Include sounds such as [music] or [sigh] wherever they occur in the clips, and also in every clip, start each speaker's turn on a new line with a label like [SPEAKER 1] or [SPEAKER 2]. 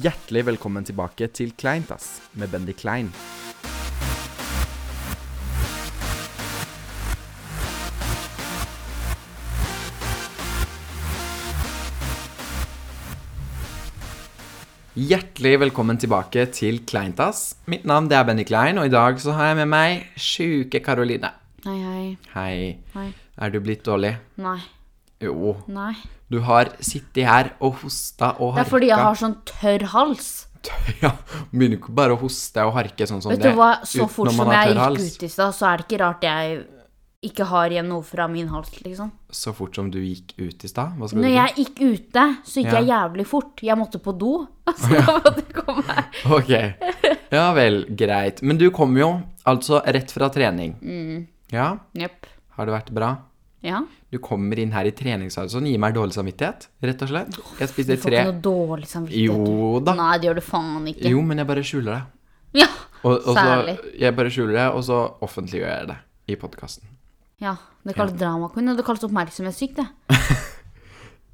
[SPEAKER 1] Hjertelig velkommen tilbake til Kleint, ass, med Bendy Klein. Hjertelig velkommen tilbake til Kleintas. Mitt navn det er Benny Klein, og i dag så har jeg med meg sjuke Karoline.
[SPEAKER 2] Hei, hei.
[SPEAKER 1] Hei.
[SPEAKER 2] Hei.
[SPEAKER 1] Er du blitt dårlig?
[SPEAKER 2] Nei.
[SPEAKER 1] Jo.
[SPEAKER 2] Nei.
[SPEAKER 1] Du har sittet her og hosta og
[SPEAKER 2] Det
[SPEAKER 1] harka.
[SPEAKER 2] er fordi jeg har sånn tørr hals.
[SPEAKER 1] [laughs] Ja, begynner ikke bare å hoste og harke sånn som
[SPEAKER 2] Vet
[SPEAKER 1] det.
[SPEAKER 2] du hva, så
[SPEAKER 1] ut
[SPEAKER 2] fort
[SPEAKER 1] når man
[SPEAKER 2] som
[SPEAKER 1] har
[SPEAKER 2] jeg
[SPEAKER 1] tørr
[SPEAKER 2] gikk
[SPEAKER 1] hals.
[SPEAKER 2] ut i stad, så er det ikke rart jeg ikke har igjen noe fra min hals, liksom.
[SPEAKER 1] Så fort som du gikk ut i stad? Hva skal
[SPEAKER 2] Når
[SPEAKER 1] du
[SPEAKER 2] jeg gikk ute, så gikk
[SPEAKER 1] Ja.
[SPEAKER 2] jeg jævlig fort. Jeg måtte på do. [laughs] Så da måtte jeg komme her.
[SPEAKER 1] [laughs] Ok. Ja vel, greit. Men du kom jo altså rett fra trening.
[SPEAKER 2] Mm.
[SPEAKER 1] Ja?
[SPEAKER 2] Jepp.
[SPEAKER 1] Har det vært bra?
[SPEAKER 2] Ja.
[SPEAKER 1] Du kommer inn her i treningshalsen og gir meg dårlig samvittighet, rett og slett. Jeg
[SPEAKER 2] Du
[SPEAKER 1] spiste
[SPEAKER 2] får
[SPEAKER 1] tre
[SPEAKER 2] ikke noe dårlig samvittighet.
[SPEAKER 1] Jo da.
[SPEAKER 2] Nei, det gjør du faen ikke.
[SPEAKER 1] Jo, men jeg bare skjuler det.
[SPEAKER 2] Ja.
[SPEAKER 1] Og, og så,
[SPEAKER 2] Særlig.
[SPEAKER 1] jeg bare skjuler det, og så offentliggjør jeg det i podkasten.
[SPEAKER 2] ja. Det kalles drama queen, og det kalles oppmerksomhetssyk, det.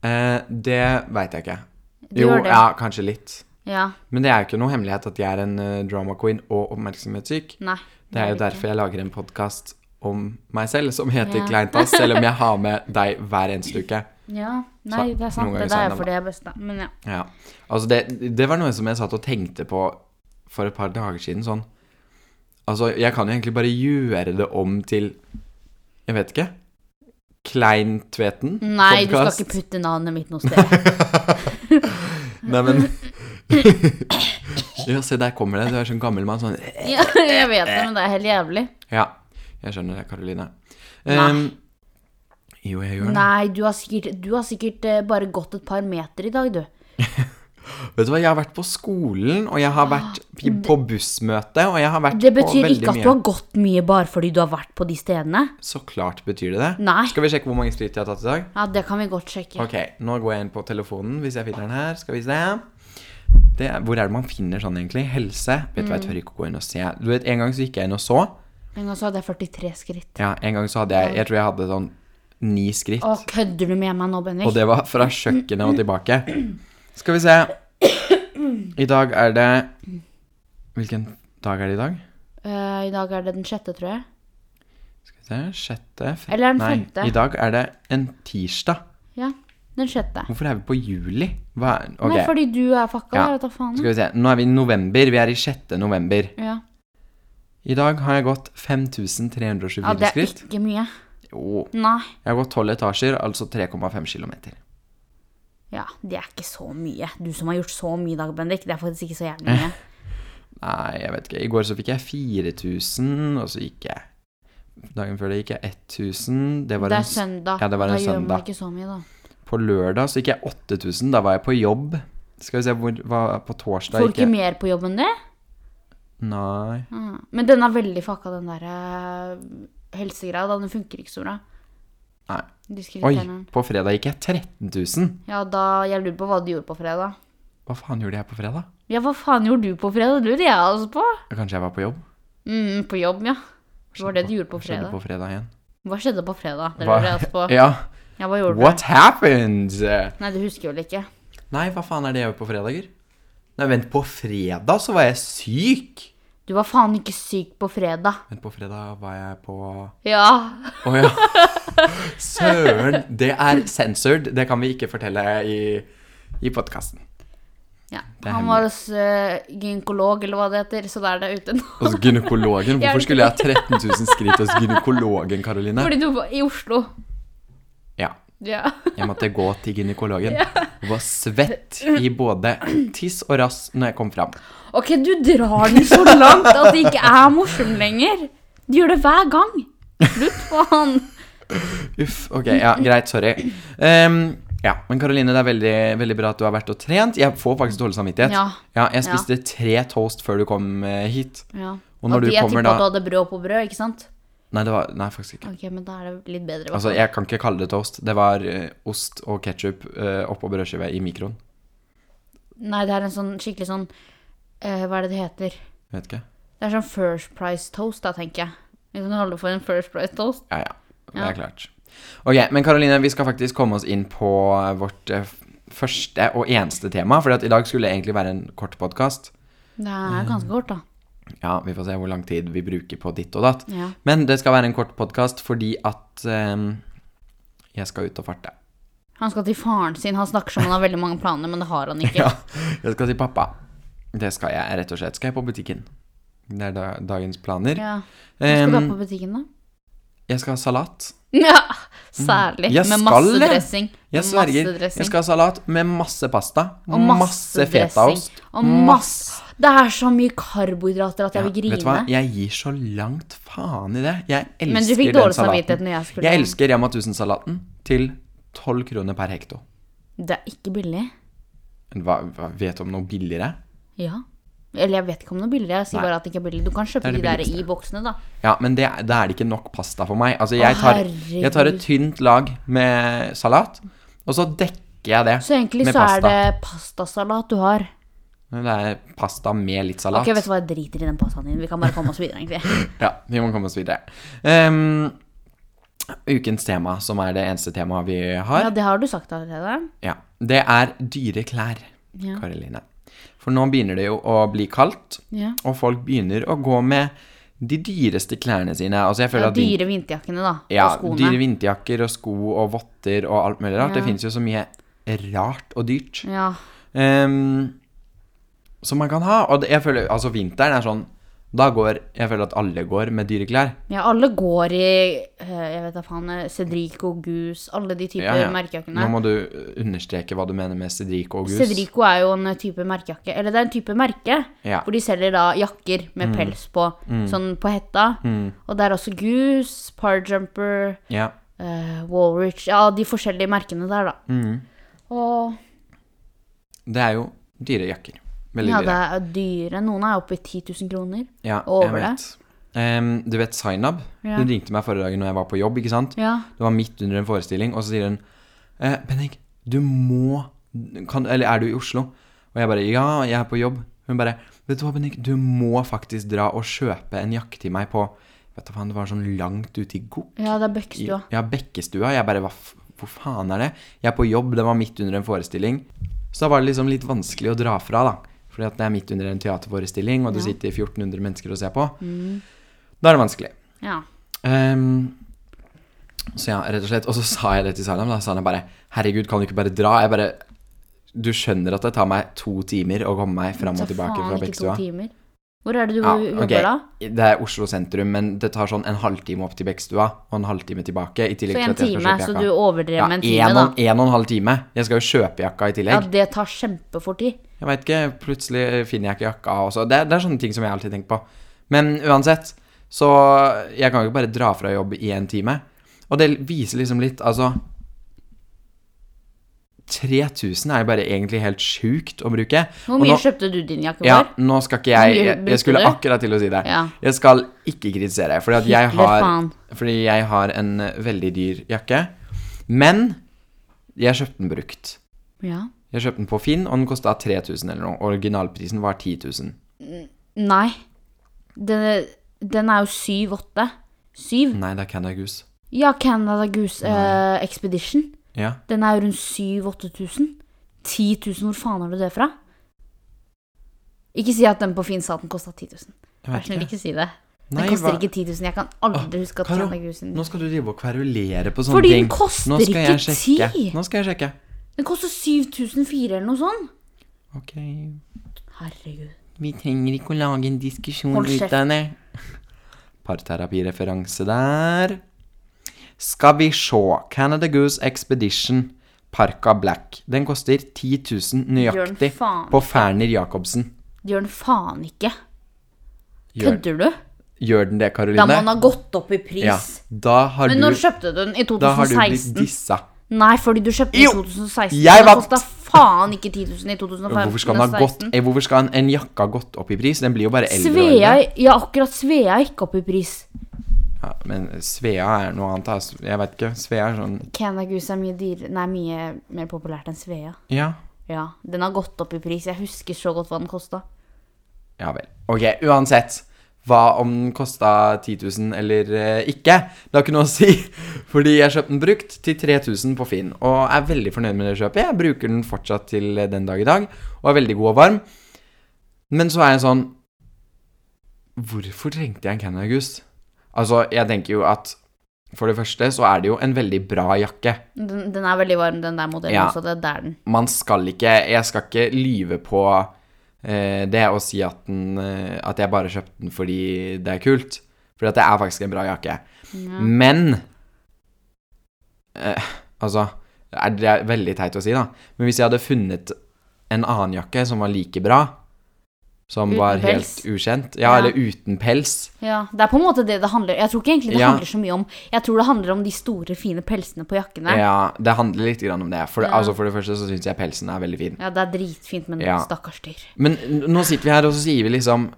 [SPEAKER 1] Eh, det veit jeg ikke.
[SPEAKER 2] Du
[SPEAKER 1] jo,
[SPEAKER 2] gjør det.
[SPEAKER 1] ja, kanskje litt.
[SPEAKER 2] Ja.
[SPEAKER 1] Men det er jo ikke noe hemmelighet at jeg er en eh, drama queen og oppmerksomhetssyk.
[SPEAKER 2] Nei.
[SPEAKER 1] Det er jo
[SPEAKER 2] ikke.
[SPEAKER 1] derfor jeg lager en podkast om meg selv som heter
[SPEAKER 2] Ja.
[SPEAKER 1] Kleintass, selv om jeg har
[SPEAKER 2] [laughs]
[SPEAKER 1] med deg hver eneste uke.
[SPEAKER 2] Ja. Nei,
[SPEAKER 1] Så-
[SPEAKER 2] det er sant.
[SPEAKER 1] noen ganger
[SPEAKER 2] Det der
[SPEAKER 1] sa
[SPEAKER 2] er
[SPEAKER 1] jeg
[SPEAKER 2] fordi jeg er best, da. Men ja.
[SPEAKER 1] Ja. Altså, det, det var noe som jeg satt og tenkte på for et par dager siden, sånn Altså, jeg kan jo egentlig bare gjøre det om til Jeg vet ikke. Kleintveten?
[SPEAKER 2] Nei, du skal
[SPEAKER 1] podcast.
[SPEAKER 2] ikke putte navnet mitt
[SPEAKER 1] [laughs]
[SPEAKER 2] noe sted.
[SPEAKER 1] Nei,
[SPEAKER 2] [laughs]
[SPEAKER 1] men [laughs] Ja, se, der kommer det. Du er sånn gammel mann, sånn
[SPEAKER 2] Ja, jeg vet det, men det er helt jævlig.
[SPEAKER 1] Ja, jeg skjønner det, Karoline.
[SPEAKER 2] Nei.
[SPEAKER 1] Ehm, jo, jeg gjør det.
[SPEAKER 2] Nei, du har sikkert, du har sikkert eh, bare gått et par meter i dag, du.
[SPEAKER 1] Vet du hva, jeg har vært på skolen, og jeg har vært p- på bussmøte, og jeg har vært
[SPEAKER 2] Ah, Det betyr
[SPEAKER 1] på veldig
[SPEAKER 2] ikke at
[SPEAKER 1] mye.
[SPEAKER 2] du har gått mye bare fordi du har vært på de stedene.
[SPEAKER 1] Så klart betyr det det.
[SPEAKER 2] Nei.
[SPEAKER 1] Skal vi sjekke hvor mange skritt jeg har tatt i dag?
[SPEAKER 2] Ja, det kan vi godt sjekke.
[SPEAKER 1] Ok, nå går jeg inn på telefonen, hvis jeg finner den her. Skal vi se. Det, er- hvor er det man finner sånn, egentlig? Helse? Vet du hva,
[SPEAKER 2] Mm.
[SPEAKER 1] jeg tør ikke å gå inn og se. Du vet, en gang så gikk jeg inn og så.
[SPEAKER 2] En gang så hadde jeg 43 skritt.
[SPEAKER 1] Ja, en gang så hadde jeg, jeg tror jeg hadde sånn ni skritt.
[SPEAKER 2] Å, kødder du med meg nå, Bendik?
[SPEAKER 1] Og det var fra kjøkkenet og tilbake. Skal vi se. I dag er det Hvilken dag er det i dag?
[SPEAKER 2] Eh, I dag er det den sjette, tror jeg.
[SPEAKER 1] Skal vi se. Sjette fem-
[SPEAKER 2] Eller er den
[SPEAKER 1] Nei,
[SPEAKER 2] femte?
[SPEAKER 1] i dag er det en tirsdag.
[SPEAKER 2] Ja, den sjette.
[SPEAKER 1] Hvorfor er vi på juli? Hva er ok,
[SPEAKER 2] Nei, fordi du er fucka,
[SPEAKER 1] Ja.
[SPEAKER 2] jeg vet da faen.
[SPEAKER 1] Skal vi se. Nå er vi i november. Vi er i sjette november.
[SPEAKER 2] Ja.
[SPEAKER 1] I dag har jeg gått 5324
[SPEAKER 2] ja, det er
[SPEAKER 1] skritt.
[SPEAKER 2] ikke mye.
[SPEAKER 1] Jo.
[SPEAKER 2] Nei.
[SPEAKER 1] Jeg har gått 12 etasjer, altså 3,5 km.
[SPEAKER 2] Ja, det er ikke så mye. Du som har gjort så mye i dag, Bendik, det er faktisk ikke så jævlig mye.
[SPEAKER 1] Nei, jeg vet ikke. I går så fikk jeg 4000, og så gikk jeg Dagen før det gikk jeg 1000. Det var
[SPEAKER 2] Det
[SPEAKER 1] en
[SPEAKER 2] er søndag.
[SPEAKER 1] ja, det var en
[SPEAKER 2] da gjør
[SPEAKER 1] søndag.
[SPEAKER 2] man ikke så mye, da.
[SPEAKER 1] På lørdag så gikk jeg 8000, da var jeg på jobb. Skal vi se hvor hva, På torsdag
[SPEAKER 2] Får
[SPEAKER 1] gikk
[SPEAKER 2] du ikke
[SPEAKER 1] jeg
[SPEAKER 2] mer på jobb enn det?
[SPEAKER 1] Nei.
[SPEAKER 2] Ah, Men den er veldig fucka, den der eh, helsegreia. da. Den funker ikke så bra.
[SPEAKER 1] Nei. Oi,
[SPEAKER 2] Diskriminerende.
[SPEAKER 1] på fredag gikk jeg 13 000.
[SPEAKER 2] Ja, da Jeg lurer på hva du gjorde på fredag.
[SPEAKER 1] Hva faen gjorde jeg på fredag?
[SPEAKER 2] Ja, hva faen gjorde du på fredag? Det lurer jeg også på.
[SPEAKER 1] Kanskje jeg var på jobb?
[SPEAKER 2] Mm, på jobb, ja. Det var det du gjorde på
[SPEAKER 1] Hva skjedde
[SPEAKER 2] fredag.
[SPEAKER 1] på fredag igjen?
[SPEAKER 2] Hva skjedde på fredag? Det
[SPEAKER 1] Hva-
[SPEAKER 2] lurer jeg også på.
[SPEAKER 1] [laughs] Ja.
[SPEAKER 2] Ja, hva gjorde
[SPEAKER 1] What happened?
[SPEAKER 2] du? Nei, du husker vel ikke.
[SPEAKER 1] Nei, hva faen er det jeg gjør på fredager? Nei, vent, på fredag så var jeg syk!
[SPEAKER 2] Du var faen ikke syk på fredag.
[SPEAKER 1] Vent, på fredag var jeg på Å
[SPEAKER 2] Ja. [laughs]
[SPEAKER 1] ja. Søren! Det er censored. Det kan vi ikke fortelle i, i podkasten.
[SPEAKER 2] ja.
[SPEAKER 1] er
[SPEAKER 2] Han var hos eh, gynekolog, eller hva det heter, så der det er ute nå.
[SPEAKER 1] Hos Altså, gynekologen?
[SPEAKER 2] [laughs]
[SPEAKER 1] Hvorfor skulle jeg ha 13 000 skritt hos gynekologen, Karoline?
[SPEAKER 2] Fordi du var i Oslo.
[SPEAKER 1] Ja,
[SPEAKER 2] Ja.
[SPEAKER 1] jeg måtte gå til gynekologen. Jeg var svett i både tiss og rass når jeg kom fram.
[SPEAKER 2] [laughs] Ok, du drar den så langt at det ikke er morsom lenger. Du gjør det hver gang. Slutt, faen.
[SPEAKER 1] Uff, ok, ja, greit, sorry. Ehm, ja, men Karoline, det er veldig, vellig bra at du har vært og trent. Jeg får faktisk dårlig samvittighet.
[SPEAKER 2] Ja.
[SPEAKER 1] jeg spiste tre toast før du kom eh, hit.
[SPEAKER 2] Ja.
[SPEAKER 1] Og når
[SPEAKER 2] At
[SPEAKER 1] du
[SPEAKER 2] jeg
[SPEAKER 1] kommer
[SPEAKER 2] tippa at du
[SPEAKER 1] da
[SPEAKER 2] hadde brød på brød, ikke sant?
[SPEAKER 1] Nei, det var, nei, faktisk ikke.
[SPEAKER 2] Ok, men da er det litt bedre.
[SPEAKER 1] Altså, jeg kan ikke kalle det toast. Det var eh, ost og ketsjup uh, oppå brødskiva i mikroen.
[SPEAKER 2] Nei, det er en sånn skikkelig sånn eh, Hva er det det heter?
[SPEAKER 1] Vet ikke.
[SPEAKER 2] Det er sånn First Price Toast, da, tenker jeg. Vi kan holde for en First Price Toast.
[SPEAKER 1] Ja, ja. Det
[SPEAKER 2] Ja.
[SPEAKER 1] er klart. Ok, men Karoline, vi skal faktisk komme oss inn på vårt eh, første og eneste tema, for i dag skulle det egentlig være en kort podkast.
[SPEAKER 2] Det er ganske kort, da.
[SPEAKER 1] Ja, vi får se hvor lang tid vi bruker på ditt og datt.
[SPEAKER 2] Ja.
[SPEAKER 1] Men det skal være en kort podkast fordi at ehm, jeg skal ut og farte.
[SPEAKER 2] Han skal til faren sin. Han snakker som han har veldig mange planer, men det har han
[SPEAKER 1] [laughs]
[SPEAKER 2] ikke.
[SPEAKER 1] Ja, jeg skal til pappa. Det skal jeg rett og slett. Skal jeg på butikken. Det er da, dagens planer.
[SPEAKER 2] Ja. Hva skal du ha
[SPEAKER 1] Ehm,
[SPEAKER 2] på butikken, da?
[SPEAKER 1] jeg skal ha salat.
[SPEAKER 2] [laughs] Ja, særlig.
[SPEAKER 1] Mm. Jeg
[SPEAKER 2] med
[SPEAKER 1] skal
[SPEAKER 2] masse
[SPEAKER 1] det.
[SPEAKER 2] dressing.
[SPEAKER 1] Jeg
[SPEAKER 2] Med
[SPEAKER 1] sverger.
[SPEAKER 2] masse dressing.
[SPEAKER 1] Jeg skal ha salat med masse pasta.
[SPEAKER 2] Og masse,
[SPEAKER 1] fetaost.
[SPEAKER 2] dressing, Og masse. Det er så mye karbohydrater at jeg vil
[SPEAKER 1] Ja,
[SPEAKER 2] grine.
[SPEAKER 1] Vet du hva, jeg gir så langt faen i det. Jeg elsker den salaten.
[SPEAKER 2] Men du fikk dårlig samvittighet når jeg skulle
[SPEAKER 1] Jeg elsker Rema 1000-salaten til 12 kroner per hekto.
[SPEAKER 2] Det er ikke billig.
[SPEAKER 1] Hva, hva vet du om noe billigere?
[SPEAKER 2] Ja. Eller jeg vet ikke om noe billigere. Jeg sier
[SPEAKER 1] Nei.
[SPEAKER 2] bare at det ikke er billig. Du kan kjøpe
[SPEAKER 1] Det er det
[SPEAKER 2] de der
[SPEAKER 1] billigste.
[SPEAKER 2] i boksene, da.
[SPEAKER 1] Ja, men det, da er det ikke nok pasta for meg. Altså,
[SPEAKER 2] Å,
[SPEAKER 1] jeg tar,
[SPEAKER 2] herregud.
[SPEAKER 1] jeg tar et tynt lag med salat, og så dekker jeg det
[SPEAKER 2] Så egentlig
[SPEAKER 1] med
[SPEAKER 2] så er
[SPEAKER 1] pasta.
[SPEAKER 2] det pastasalat du har.
[SPEAKER 1] Men Det er pasta med litt salat.
[SPEAKER 2] Ok, vet du hva, jeg driter i den pastaen din. Vi kan bare komme oss videre, egentlig.
[SPEAKER 1] Ja, vi må komme oss videre. Ehm, ukens tema, som er det eneste temaet vi har,
[SPEAKER 2] Ja, det har du sagt allerede.
[SPEAKER 1] ja, det er dyre klær,
[SPEAKER 2] Ja.
[SPEAKER 1] Karoline. For nå begynner det jo å bli kaldt,
[SPEAKER 2] ja.
[SPEAKER 1] og folk begynner å gå med de dyreste klærne sine. Altså, jeg føler
[SPEAKER 2] ja
[SPEAKER 1] at vin-
[SPEAKER 2] dyre vinterjakkene, da.
[SPEAKER 1] Ja,
[SPEAKER 2] og skoene.
[SPEAKER 1] dyre vinterjakker og sko og votter og alt mulig rart.
[SPEAKER 2] Ja.
[SPEAKER 1] Det finnes jo så mye rart og dyrt
[SPEAKER 2] Ja.
[SPEAKER 1] ehm, som man kan ha. Og det, jeg føler, altså vinteren er sånn, da går, jeg føler at alle går med dyre klær.
[SPEAKER 2] ja, alle går i eh, jeg vet da faen, eh, Cedrico, Goose, alle de typer
[SPEAKER 1] Ja, ja.
[SPEAKER 2] merkejakkene.
[SPEAKER 1] Nå må du eh, understreke hva du mener med Cedrico og Gus.
[SPEAKER 2] Cedrico er jo en eh, type merkejakke, eller det er en type merke,
[SPEAKER 1] Ja. Mm.
[SPEAKER 2] hvor de selger da jakker med pels på, sånn på hetta. Og det er også Goose, Parjumper,
[SPEAKER 1] Ja.
[SPEAKER 2] uh, Walrich, ja, de forskjellige merkene der da.
[SPEAKER 1] Mm.
[SPEAKER 2] Og
[SPEAKER 1] Det er jo dyre jakker. Veldig
[SPEAKER 2] ja, det
[SPEAKER 1] dyre.
[SPEAKER 2] er dyre. Noen er oppe i 10 000 kroner.
[SPEAKER 1] Ja,
[SPEAKER 2] og
[SPEAKER 1] jeg
[SPEAKER 2] over det.
[SPEAKER 1] vet. Ehm, du vet Zainab?
[SPEAKER 2] Ja.
[SPEAKER 1] Hun ringte meg forrige dagen når jeg var på jobb, ikke sant?
[SPEAKER 2] Ja,
[SPEAKER 1] Det var midt under en forestilling, og så sier hun eh, Bendik, du må kan, Eller er du i Oslo? Og jeg bare Ja, jeg er på jobb. Hun bare Vet du hva, Bendik, du må faktisk dra og kjøpe en jakke til meg på Vet du faen, det var sånn langt ute i Gok.
[SPEAKER 2] ja det er
[SPEAKER 1] i-
[SPEAKER 2] Bøkstua.
[SPEAKER 1] Ja, Bekkestua. Jeg bare hva, f- Hvor faen er det? Jeg er på jobb, det var midt under en forestilling. Så da var det liksom litt vanskelig å dra fra, da. Fordi at det er midt under en teaterforestilling, og det
[SPEAKER 2] Ja.
[SPEAKER 1] sitter 1400 mennesker og ser på. Da er det vanskelig.
[SPEAKER 2] Mm. Ja.
[SPEAKER 1] Ehm, så ja, rett og slett. Og så sa jeg det til Sanam. Da sa han bare 'Herregud, kan du ikke bare dra?' Jeg bare Du skjønner at det tar meg to timer å komme meg fram og
[SPEAKER 2] Så
[SPEAKER 1] tilbake
[SPEAKER 2] faen
[SPEAKER 1] fra
[SPEAKER 2] ikke to
[SPEAKER 1] Bekkstua?
[SPEAKER 2] timer. Hvor er det du
[SPEAKER 1] Ja,
[SPEAKER 2] jobber
[SPEAKER 1] ok.
[SPEAKER 2] da?
[SPEAKER 1] Det er Oslo sentrum, men det tar sånn en halvtime opp til Bekkstua og en halvtime tilbake. I tillegg til
[SPEAKER 2] Så en
[SPEAKER 1] at jeg skal
[SPEAKER 2] time,
[SPEAKER 1] kjøpe
[SPEAKER 2] så
[SPEAKER 1] jakka.
[SPEAKER 2] du overdrev
[SPEAKER 1] ja,
[SPEAKER 2] med en
[SPEAKER 1] en,
[SPEAKER 2] time da.
[SPEAKER 1] og, en og en halv time. Jeg skal jo kjøpe jakka i
[SPEAKER 2] Ja,
[SPEAKER 1] tillegg.
[SPEAKER 2] det tar kjempefort tid.
[SPEAKER 1] Jeg veit ikke, plutselig finner jeg ikke jakka også. Det, er- det er sånne ting som jeg alltid tenker på. Men uansett, så jeg kan jo ikke bare dra fra jobb i en time. Og det viser liksom litt, altså 3000 er jo bare egentlig helt sjukt å bruke.
[SPEAKER 2] Hvor
[SPEAKER 1] Og
[SPEAKER 2] mye
[SPEAKER 1] nå-
[SPEAKER 2] kjøpte du din jakke for?
[SPEAKER 1] Ja, nå skal ikke jeg
[SPEAKER 2] Mye
[SPEAKER 1] Jeg,
[SPEAKER 2] brukte
[SPEAKER 1] jeg skulle
[SPEAKER 2] du?
[SPEAKER 1] akkurat til å si det.
[SPEAKER 2] Ja.
[SPEAKER 1] Jeg skal ikke kritisere, fordi at jeg
[SPEAKER 2] Hitler,
[SPEAKER 1] har
[SPEAKER 2] faen.
[SPEAKER 1] Fordi jeg har en eh, veldig dyr jakke. Men jeg kjøpte den brukt.
[SPEAKER 2] Ja.
[SPEAKER 1] Jeg kjøpte den på Finn, og den kosta 3000 eller noe. Originalprisen var 10 000.
[SPEAKER 2] Nei. Den, den er jo syv-åtte. Syv?
[SPEAKER 1] Nei, det er Canada Goose.
[SPEAKER 2] Ja, Canada Goose eh, Expedition.
[SPEAKER 1] Ja.
[SPEAKER 2] Den er jo rundt 7000-8000. 10 000, hvor faen har du det fra? Ikke si at den på Finn sa at den kosta 10 000.
[SPEAKER 1] Jeg
[SPEAKER 2] Vær
[SPEAKER 1] vet
[SPEAKER 2] snill,
[SPEAKER 1] ikke.
[SPEAKER 2] ikke si det. Den
[SPEAKER 1] Nei,
[SPEAKER 2] koster
[SPEAKER 1] hva-
[SPEAKER 2] ikke 10 000. Jeg kan aldri huske at
[SPEAKER 1] Karo,
[SPEAKER 2] Canada Goose
[SPEAKER 1] Nå skal du drive og kverulere på sånne
[SPEAKER 2] Fordi
[SPEAKER 1] ting.
[SPEAKER 2] den koster
[SPEAKER 1] Nå skal jeg
[SPEAKER 2] ikke
[SPEAKER 1] sjekke.
[SPEAKER 2] 10 000.
[SPEAKER 1] Nå skal jeg sjekke.
[SPEAKER 2] Den koster 7004 eller noe sånt.
[SPEAKER 1] Ok,
[SPEAKER 2] Herregud.
[SPEAKER 1] vi trenger ikke å lage en diskusjon
[SPEAKER 2] Hold
[SPEAKER 1] ut
[SPEAKER 2] kjeft.
[SPEAKER 1] av det. Parterapireferanse der. Skal vi sjå. Canada Goose Expedition Parka Black. Den koster 10 000 nøyaktig
[SPEAKER 2] Bjørn, faen.
[SPEAKER 1] på Ferner Jacobsen.
[SPEAKER 2] Det gjør den faen ikke.
[SPEAKER 1] Gjør,
[SPEAKER 2] Kødder du?
[SPEAKER 1] gjør den det,
[SPEAKER 2] Da må den
[SPEAKER 1] Karoline?
[SPEAKER 2] ha gått opp i pris.
[SPEAKER 1] Ja. Da har
[SPEAKER 2] Men
[SPEAKER 1] du
[SPEAKER 2] når kjøpte du den? I
[SPEAKER 1] Da har du blitt
[SPEAKER 2] 2016?
[SPEAKER 1] dissa.
[SPEAKER 2] Nei, fordi du kjøpte den i
[SPEAKER 1] Jo,
[SPEAKER 2] 2016.
[SPEAKER 1] jeg
[SPEAKER 2] Den
[SPEAKER 1] vant.
[SPEAKER 2] kosta faen ikke 10 000 i 2015.
[SPEAKER 1] Hvorfor skal, den ha gått, eh, hvorfor skal en, en jakka ha gått opp i pris? Den blir jo bare eldre. og
[SPEAKER 2] Svea,
[SPEAKER 1] eldre.
[SPEAKER 2] ja, akkurat Svea gikk opp i pris.
[SPEAKER 1] Ja, men Svea er noe annet. da. Jeg vet ikke. Svea er sånn
[SPEAKER 2] Canagus er mye dyrere Nei, mye mer populært enn Svea.
[SPEAKER 1] Ja,
[SPEAKER 2] Ja, den har gått opp i pris. Jeg husker så godt hva den kosta.
[SPEAKER 1] ja vel. Ok, uansett. hva om den kosta 10 000 eller eh, ikke. Det har ikke noe å [laughs] si, fordi jeg kjøpte den brukt til 3000 på Finn. Og er veldig fornøyd med det kjøpet. Jeg bruker den fortsatt til eh, den dag i dag, og er veldig god og varm. Men så er jeg sånn Hvorfor trengte jeg en Can August? Altså, jeg tenker jo at for det første så er det jo en veldig bra jakke.
[SPEAKER 2] Den, den er veldig varm, den der modellen
[SPEAKER 1] Ja.
[SPEAKER 2] også. Det er der den.
[SPEAKER 1] man skal ikke Jeg skal ikke lyve på eh, det å si at, den, eh, at jeg bare kjøpte den fordi det er kult. For det er faktisk en bra jakke.
[SPEAKER 2] Ja.
[SPEAKER 1] Men eh, Altså det er, det er veldig teit å si, da. Men hvis jeg hadde funnet en annen jakke som var like bra, som
[SPEAKER 2] Uten
[SPEAKER 1] var
[SPEAKER 2] pels?
[SPEAKER 1] helt ukjent Ja,
[SPEAKER 2] Ja.
[SPEAKER 1] eller uten pels.
[SPEAKER 2] Ja, Det er på en måte det det handler Jeg tror ikke egentlig det
[SPEAKER 1] Ja.
[SPEAKER 2] handler så mye om Jeg tror det handler om de store, fine pelsene på jakkene. Ja,
[SPEAKER 1] Ja, det handler litt grann om det. For, det-
[SPEAKER 2] Ja.
[SPEAKER 1] altså, for det første så syns jeg pelsen er veldig fin.
[SPEAKER 2] Det er dritfint, men
[SPEAKER 1] Ja.
[SPEAKER 2] stakkars dyr.
[SPEAKER 1] Men n- nå sitter vi her og så sier vi liksom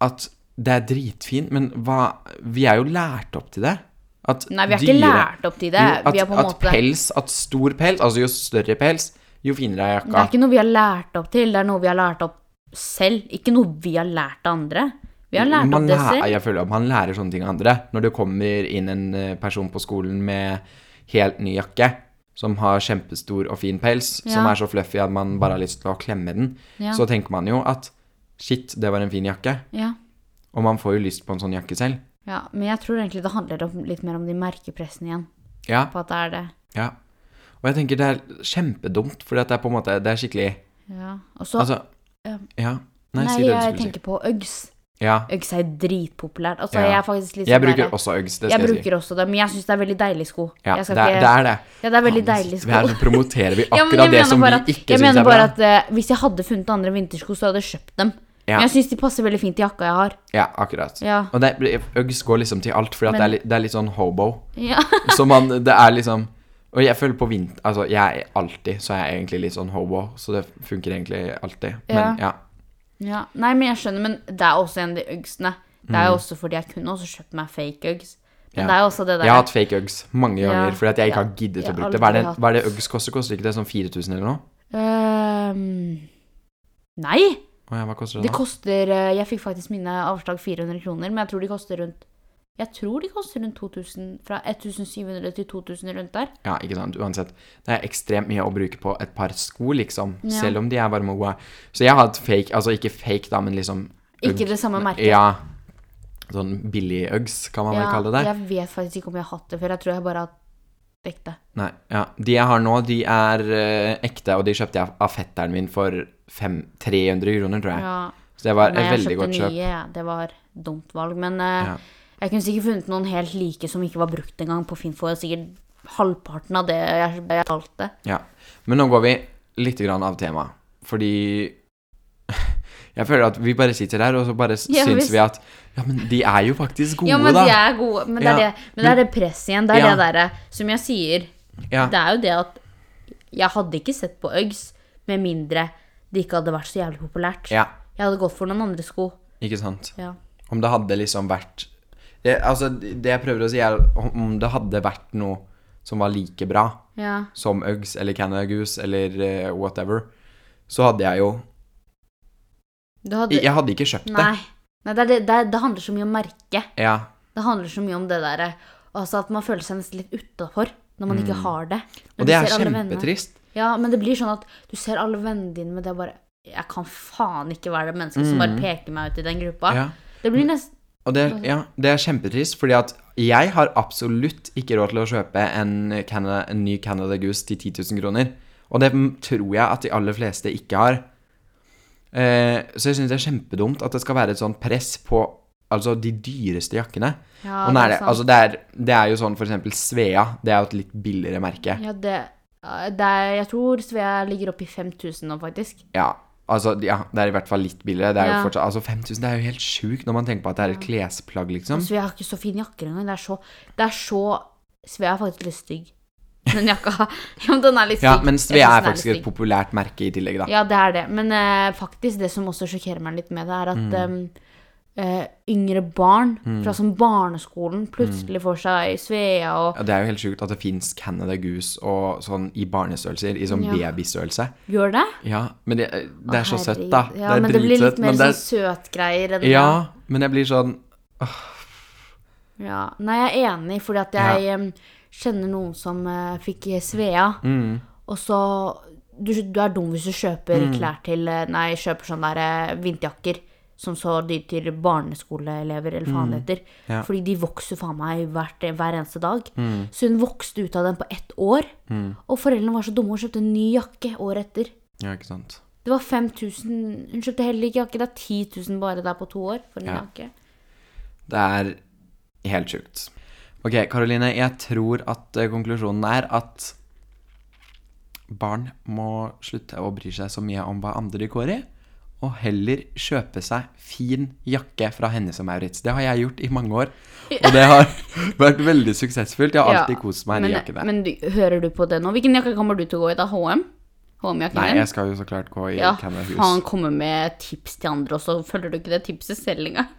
[SPEAKER 1] at det er dritfint, men hva Vi er jo lært opp til det. At
[SPEAKER 2] Nei, vi har ikke lært opp til det.
[SPEAKER 1] jo, at,
[SPEAKER 2] vi er på en
[SPEAKER 1] at
[SPEAKER 2] måte
[SPEAKER 1] pels, at stor pels, altså jo større pels, jo finere er
[SPEAKER 2] Det er
[SPEAKER 1] jakka.
[SPEAKER 2] ikke noe vi har lært opp til, det er noe vi har lært opp selv. Ikke noe vi har lært av andre. Vi har lært
[SPEAKER 1] Man
[SPEAKER 2] opp det
[SPEAKER 1] læ-
[SPEAKER 2] selv.
[SPEAKER 1] Jeg føler at man lærer sånne ting av andre. Når det kommer inn en eh, person på skolen med helt ny jakke, som har kjempestor og fin pels, som
[SPEAKER 2] Ja.
[SPEAKER 1] er så fluffy at man bare har lyst til å klemme den,
[SPEAKER 2] Ja.
[SPEAKER 1] så tenker man jo at shit, det var en fin jakke.
[SPEAKER 2] Ja.
[SPEAKER 1] Og man får jo lyst på en sånn jakke selv.
[SPEAKER 2] ja, Men jeg tror egentlig det handler om, litt mer om de merkepressene igjen.
[SPEAKER 1] Ja.
[SPEAKER 2] På at det er det.
[SPEAKER 1] Ja. Og jeg tenker det er kjempedumt, fordi at det er på en måte Det er skikkelig
[SPEAKER 2] Ja. Og så
[SPEAKER 1] Altså
[SPEAKER 2] ja.
[SPEAKER 1] Ja. Nei,
[SPEAKER 2] Nei,
[SPEAKER 1] si det du
[SPEAKER 2] jeg
[SPEAKER 1] skulle si.
[SPEAKER 2] tenker på Uggs.
[SPEAKER 1] Ja.
[SPEAKER 2] Uggs er dritpopulært. Altså,
[SPEAKER 1] Ja.
[SPEAKER 2] jeg er faktisk litt
[SPEAKER 1] Jeg
[SPEAKER 2] sånn
[SPEAKER 1] bruker
[SPEAKER 2] der-
[SPEAKER 1] også Uggs, det
[SPEAKER 2] jeg
[SPEAKER 1] skal jeg si.
[SPEAKER 2] bruker også det, men jeg syns det er veldig deilig sko.
[SPEAKER 1] Ja,
[SPEAKER 2] jeg
[SPEAKER 1] det
[SPEAKER 2] skal
[SPEAKER 1] er,
[SPEAKER 2] ikke-
[SPEAKER 1] det er det.
[SPEAKER 2] ja, det er veldig
[SPEAKER 1] Faen,
[SPEAKER 2] deilig sko.
[SPEAKER 1] Vi her så promoterer vi
[SPEAKER 2] [laughs] Ja,
[SPEAKER 1] akkurat
[SPEAKER 2] men jeg
[SPEAKER 1] det
[SPEAKER 2] mener
[SPEAKER 1] som vi
[SPEAKER 2] bare at-
[SPEAKER 1] ikke
[SPEAKER 2] Jeg
[SPEAKER 1] syns
[SPEAKER 2] mener
[SPEAKER 1] er
[SPEAKER 2] bare
[SPEAKER 1] bra.
[SPEAKER 2] at eh, hvis jeg hadde funnet andre vintersko, så hadde jeg kjøpt dem.
[SPEAKER 1] Ja.
[SPEAKER 2] Men jeg syns de passer veldig fint i jakka jeg har.
[SPEAKER 1] Ja, akkurat.
[SPEAKER 2] Ja.
[SPEAKER 1] Og det, Uggs går liksom til alt, fordi at
[SPEAKER 2] Men-
[SPEAKER 1] det, er, litt- det er litt sånn hobo.
[SPEAKER 2] ja. [laughs]
[SPEAKER 1] Så man Det er liksom Og jeg føler på vinter Altså, jeg er alltid Så jeg er egentlig litt sånn hobo, så det funker egentlig alltid. Men ja.
[SPEAKER 2] Ja, nei, men jeg skjønner, men det er også en av de uggsene. Det er jo også fordi jeg kunne også kjøpt meg fake uggs. Men
[SPEAKER 1] Mm. Ja.
[SPEAKER 2] det er jo også det der
[SPEAKER 1] Jeg har hatt fake Uggs mange
[SPEAKER 2] Ja.
[SPEAKER 1] ganger fordi at jeg ikke
[SPEAKER 2] Ja.
[SPEAKER 1] har giddet
[SPEAKER 2] Jeg
[SPEAKER 1] å
[SPEAKER 2] har
[SPEAKER 1] bruke det. Hva er det,
[SPEAKER 2] aldri hatt-
[SPEAKER 1] hva er det Uggs koster? Koster ikke det sånn 4000 eller noe?
[SPEAKER 2] Øhm, ehm, Nei!
[SPEAKER 1] Å ja, hva koster det
[SPEAKER 2] Det
[SPEAKER 1] nå?
[SPEAKER 2] koster eh, Jeg fikk faktisk mine avslag 400 kroner, men jeg tror de koster rundt Jeg tror de koster rundt 2000 Fra 1700 til 2000 rundt der.
[SPEAKER 1] Ja, ikke sant, uansett. Det er ekstremt mye å bruke på et par sko, liksom.
[SPEAKER 2] Ja.
[SPEAKER 1] Selv om de er varme og gode. Så jeg har hatt fake, altså ikke fake da, men liksom
[SPEAKER 2] Ikke det samme merket.
[SPEAKER 1] Ja. Sånn billig Uggs, kan man vel kalle det.
[SPEAKER 2] Jeg vet faktisk ikke om jeg har hatt det før. Jeg tror jeg bare har dekket det.
[SPEAKER 1] Nei, ja. De jeg har nå, de er eh, ekte, og de kjøpte jeg av fetteren min for fem, 300 kroner, tror jeg.
[SPEAKER 2] Ja.
[SPEAKER 1] Så det var
[SPEAKER 2] Nei,
[SPEAKER 1] et
[SPEAKER 2] jeg
[SPEAKER 1] veldig
[SPEAKER 2] kjøpte
[SPEAKER 1] godt kjøp.
[SPEAKER 2] nye. ja. Det var dumt valg. Men eh,
[SPEAKER 1] Ja.
[SPEAKER 2] jeg kunne sikkert funnet noen helt like som ikke var brukt engang på Finn for sikkert halvparten av det jeg jeg betalte.
[SPEAKER 1] Ja. Men nå går vi litt grann av tema, fordi [laughs] jeg føler at vi bare sitter der, og så bare s-
[SPEAKER 2] Ja,
[SPEAKER 1] syns
[SPEAKER 2] hvis-
[SPEAKER 1] vi at Ja, men de er jo faktisk gode,
[SPEAKER 2] Ja, men
[SPEAKER 1] da.
[SPEAKER 2] de er gode. Men det er
[SPEAKER 1] Ja.
[SPEAKER 2] det, men det, er det presset igjen. Det er
[SPEAKER 1] Ja.
[SPEAKER 2] det derre som jeg sier.
[SPEAKER 1] Ja.
[SPEAKER 2] Det er jo det at jeg hadde ikke sett på Uggs med mindre det ikke hadde vært så jævlig populært.
[SPEAKER 1] ja,
[SPEAKER 2] Jeg hadde gått for noen andre sko.
[SPEAKER 1] ikke sant.
[SPEAKER 2] Ja.
[SPEAKER 1] Om det hadde liksom vært det, Altså, det jeg prøver å si, er om det hadde vært noe som var like bra
[SPEAKER 2] ja.
[SPEAKER 1] som Uggs eller Canada Goose eller eh, whatever, så hadde jeg jo
[SPEAKER 2] Du hadde
[SPEAKER 1] Jeg hadde ikke kjøpt det.
[SPEAKER 2] Nei. Nei det, er det, det, er- det handler så mye om merke.
[SPEAKER 1] Ja.
[SPEAKER 2] Det handler så mye om det derre Altså at man føler seg nesten litt utafor når man ikke har det. Når
[SPEAKER 1] Mm. Og
[SPEAKER 2] du
[SPEAKER 1] det er
[SPEAKER 2] ser alle vennene.
[SPEAKER 1] kjempetrist.
[SPEAKER 2] Ja, men det blir sånn at du ser alle vennene dine med det og bare Jeg kan faen ikke være det mennesket som bare peker meg ut i den gruppa.
[SPEAKER 1] Mm. Ja.
[SPEAKER 2] Det blir nesten
[SPEAKER 1] Og det,
[SPEAKER 2] Mhm.
[SPEAKER 1] ja, det er kjempetrist, fordi at jeg har absolutt ikke råd til å kjøpe en, Canada, en ny Canada Goose til 10 000 kroner. Og det m- tror jeg at de aller fleste ikke har. Eh, så jeg syns det er kjempedumt at det skal være et sånt press på altså, de dyreste jakkene.
[SPEAKER 2] Ja, sånn-
[SPEAKER 1] Og nå er det,
[SPEAKER 2] sant.
[SPEAKER 1] altså, det, er, det er jo sånn for eksempel Svea. Det er jo et litt billigere merke.
[SPEAKER 2] Ja, det, det er, Jeg tror Svea ligger oppe i 5000 nå, faktisk.
[SPEAKER 1] Ja, altså, ja, det er i hvert fall litt billigere. Det er
[SPEAKER 2] Ja.
[SPEAKER 1] jo fortsatt, altså 5000 det er jo helt sjukt når man tenker på at det er et klesplagg, liksom.
[SPEAKER 2] Svea har ikke så fine jakker engang. Det er så, det er så Svea er faktisk litt stygg. Den jakka [laughs] ja, men Den er litt stygg.
[SPEAKER 1] Ja, men
[SPEAKER 2] Jeg synes
[SPEAKER 1] Svea
[SPEAKER 2] den
[SPEAKER 1] er
[SPEAKER 2] litt
[SPEAKER 1] faktisk
[SPEAKER 2] stygg.
[SPEAKER 1] et populært merke i tillegg, da.
[SPEAKER 2] Ja, det er det. Men eh, faktisk, det som også sjokkerer meg litt med det, er
[SPEAKER 1] Mm.
[SPEAKER 2] at eh, eh, yngre barn fra sånn barneskolen
[SPEAKER 1] Mm.
[SPEAKER 2] plutselig får seg Svea og
[SPEAKER 1] Ja, Det er jo helt sjukt at det fins Canada Goose og sånn i barnestørrelser, i sånn
[SPEAKER 2] Ja.
[SPEAKER 1] babystørrelse.
[SPEAKER 2] Gjør det?
[SPEAKER 1] Ja, men det, det er så
[SPEAKER 2] Herregud.
[SPEAKER 1] søtt, da.
[SPEAKER 2] Ja, men det blir litt mer
[SPEAKER 1] men det
[SPEAKER 2] sånn søtgreier enn
[SPEAKER 1] er, Ja, men jeg blir sånn
[SPEAKER 2] Ja. Nei, jeg er enig, fordi at jeg em, kjenner noen som eh, fikk Svea,
[SPEAKER 1] Mm.
[SPEAKER 2] og så du, du er dum hvis du kjøper klær til eh, Nei, kjøper sånne der eh, vinterjakker som så de til barneskoleelever, eller faen det heter.
[SPEAKER 1] Mm. Ja. Mm.
[SPEAKER 2] Fordi de vokser faen meg hvert, eh, hver eneste dag. Så hun vokste ut av den på ett år, og foreldrene var så dumme og kjøpte en ny jakke året etter.
[SPEAKER 1] Ja, ikke sant.
[SPEAKER 2] Det var 5000 Hun kjøpte heller ikke jakke. Det er 10 000 bare der på to år for en
[SPEAKER 1] Ja.
[SPEAKER 2] jakke.
[SPEAKER 1] Det er helt sjukt. Ok, Karoline, jeg tror at eh, konklusjonen er at barn må slutte å bry seg så mye om hva andre går i, og heller kjøpe seg fin jakke fra Hennes og Maurits. Det har jeg gjort i mange år, og det har [laughs] vært veldig suksessfullt. Jeg har alltid kost meg i de
[SPEAKER 2] men,
[SPEAKER 1] jakkene.
[SPEAKER 2] Men du, hører du på det nå? Hvilken jakke kommer du til å gå i? Da HM? HM-jakken
[SPEAKER 1] Nei,
[SPEAKER 2] din?
[SPEAKER 1] jeg skal jo så klart gå i
[SPEAKER 2] Ja,
[SPEAKER 1] Canada
[SPEAKER 2] faen,
[SPEAKER 1] Hus.
[SPEAKER 2] kommer med tips til andre også. Følger du ikke det tipset selv engang?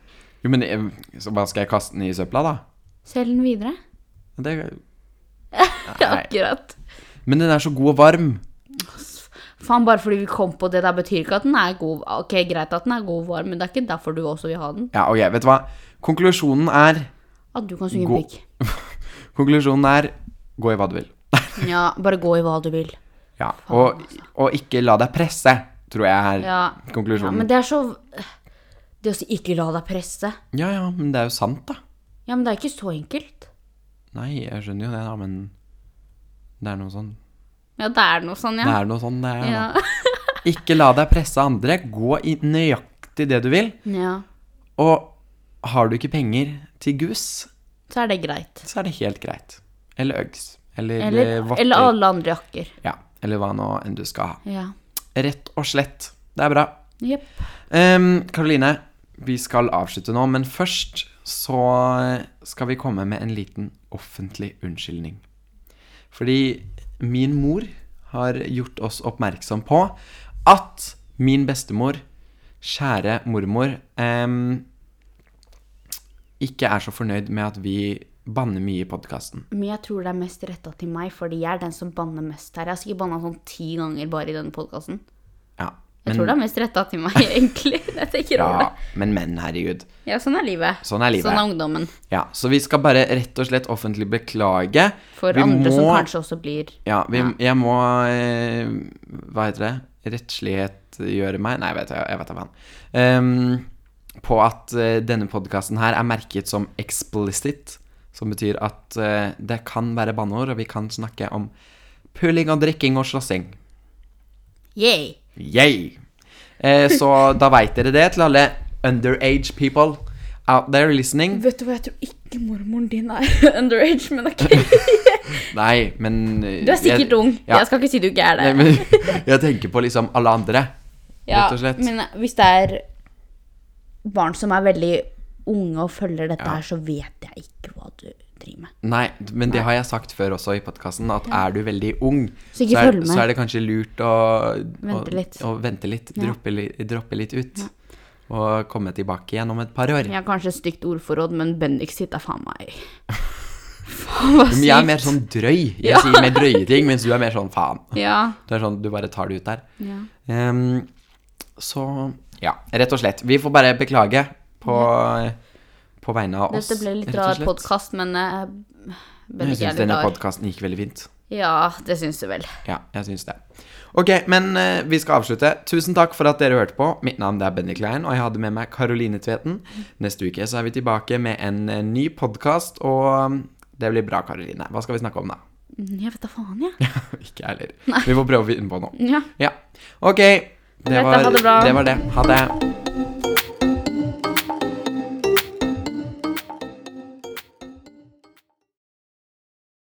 [SPEAKER 1] Jo, men eh, så hva skal jeg kaste den i søpla, da?
[SPEAKER 2] Selg den videre.
[SPEAKER 1] Det, nei.
[SPEAKER 2] [laughs] Akkurat.
[SPEAKER 1] Men den er så god og varm.
[SPEAKER 2] Faen, bare fordi vi kom på det der, betyr ikke at den er god. Ok, greit at den er god og varm, men det er ikke derfor du også vil ha den.
[SPEAKER 1] Ja, ok, vet du hva? Konklusjonen er
[SPEAKER 2] At du kan synge
[SPEAKER 1] Gå-
[SPEAKER 2] en pikk.
[SPEAKER 1] Konklusjonen er gå i hva du vil.
[SPEAKER 2] Ja, bare gå i hva du vil.
[SPEAKER 1] Ja, og, og ikke la deg presse, tror jeg er
[SPEAKER 2] Ja. ja
[SPEAKER 1] konklusjonen.
[SPEAKER 2] men det er så Det å si ikke la deg presse.
[SPEAKER 1] Ja, ja, men det er jo sant, da.
[SPEAKER 2] Ja, men det er ikke så enkelt.
[SPEAKER 1] Nei, jeg skjønner jo det, da, men det er noe sånn
[SPEAKER 2] Ja, det er noe sånn,
[SPEAKER 1] Det
[SPEAKER 2] ja.
[SPEAKER 1] er noe sånn det er,
[SPEAKER 2] Ja. [laughs]
[SPEAKER 1] da. Ikke la deg presse av andre. Gå i nøyaktig det du vil.
[SPEAKER 2] ja.
[SPEAKER 1] Og har du ikke penger til gus,
[SPEAKER 2] Så er det greit.
[SPEAKER 1] så er det helt greit. Eller Uggs. Eller, eh,
[SPEAKER 2] Eller,
[SPEAKER 1] votter.
[SPEAKER 2] eller alle andre jakker.
[SPEAKER 1] Ja, eller hva nå enn du skal ha.
[SPEAKER 2] Ja.
[SPEAKER 1] Rett og slett. Det er bra.
[SPEAKER 2] Jepp.
[SPEAKER 1] Ehm, Karoline, vi skal avslutte nå, men først så skal vi komme med en liten offentlig unnskyldning. Fordi min mor har gjort oss oppmerksom på at min bestemor, kjære mormor, ehm, ikke er så fornøyd med at vi banner mye i podkasten.
[SPEAKER 2] Men jeg tror det er mest retta til meg, fordi jeg er den som banner mest her. Jeg har sikkert banna sånn ti ganger bare i denne podkasten.
[SPEAKER 1] Ja,
[SPEAKER 2] Jeg tror det er mest retta til meg, [laughs] egentlig. når Jeg tenker over
[SPEAKER 1] ja,
[SPEAKER 2] det.
[SPEAKER 1] men, men, herregud.
[SPEAKER 2] Ja, sånn er livet.
[SPEAKER 1] Sånn er livet.
[SPEAKER 2] Sånn er ungdommen.
[SPEAKER 1] Ja, så vi skal bare rett og slett offentlig beklage.
[SPEAKER 2] For
[SPEAKER 1] Vi
[SPEAKER 2] andre som
[SPEAKER 1] må-
[SPEAKER 2] kanskje også blir
[SPEAKER 1] Ja, vi, jeg må eh, Hva heter det? Rettslighetgjøre meg? Nei, vet jeg, jeg vet da faen. Ehm, på at eh, denne podkasten her er merket som explicit, som betyr at eh, det kan være banneord, og vi kan snakke om puling og drikking og slåssing.
[SPEAKER 2] Yeah!
[SPEAKER 1] Yay! Eh, så da veit dere det til alle underage people out there listening.
[SPEAKER 2] Vet du hva, jeg tror ikke mormoren din er [laughs] underage, men ok.
[SPEAKER 1] Nei, men eh,
[SPEAKER 2] Du er sikkert ung.
[SPEAKER 1] Ja.
[SPEAKER 2] Jeg skal ikke si du ikke er det.
[SPEAKER 1] Nei, [laughs] men jeg tenker på liksom alle andre,
[SPEAKER 2] Ja,
[SPEAKER 1] rett og slett.
[SPEAKER 2] Men hvis det er barn som er veldig unge og følger dette her, så vet jeg ikke hva du driver med.
[SPEAKER 1] Nei, men det har jeg sagt før også i podkasten, at er du veldig ung,
[SPEAKER 2] Så ikke
[SPEAKER 1] er,
[SPEAKER 2] følg med.
[SPEAKER 1] så er det kanskje lurt å
[SPEAKER 2] Vente
[SPEAKER 1] å-
[SPEAKER 2] litt.
[SPEAKER 1] Å, vente litt droppe, li, droppe litt ut. Og komme tilbake igjen om et par år.
[SPEAKER 2] Jeg har kanskje et stygt ordforråd, men Bendik sitt er faen meg Faen, hva
[SPEAKER 1] Men jeg er mer sånn drøy. Jeg sier mer drøye ting, mens du er mer sånn faen.
[SPEAKER 2] Ja.
[SPEAKER 1] Du er sånn, du bare tar det ut der.
[SPEAKER 2] ja.
[SPEAKER 1] Ehm, så ja, rett og slett. Vi får bare beklage på, på vegne av oss.
[SPEAKER 2] Dette ble litt
[SPEAKER 1] rett og
[SPEAKER 2] rar
[SPEAKER 1] slett.
[SPEAKER 2] podkast, men eh,
[SPEAKER 1] Jeg
[SPEAKER 2] Bendik
[SPEAKER 1] syns
[SPEAKER 2] er litt
[SPEAKER 1] denne
[SPEAKER 2] rar.
[SPEAKER 1] podkasten gikk veldig fint.
[SPEAKER 2] Ja, det syns du vel.
[SPEAKER 1] Ja, jeg syns det. Ok, men eh, vi skal avslutte. Tusen takk for at dere hørte på. Mitt navn det er Benny Klein, og jeg hadde med meg Karoline Tveten. Neste uke så er vi tilbake med en eh, ny podkast, og mm, det blir bra, Karoline. Hva skal vi snakke om, da? [laughs]
[SPEAKER 2] Mm, Jeg vet da faen, jeg.
[SPEAKER 1] Ikke jeg heller. Vi får prøve å finne på noe.
[SPEAKER 2] Ja.
[SPEAKER 1] Ja. Ok. Det
[SPEAKER 2] Greit, da.
[SPEAKER 1] var
[SPEAKER 2] Ha det bra.
[SPEAKER 1] det. Var det. Ha det.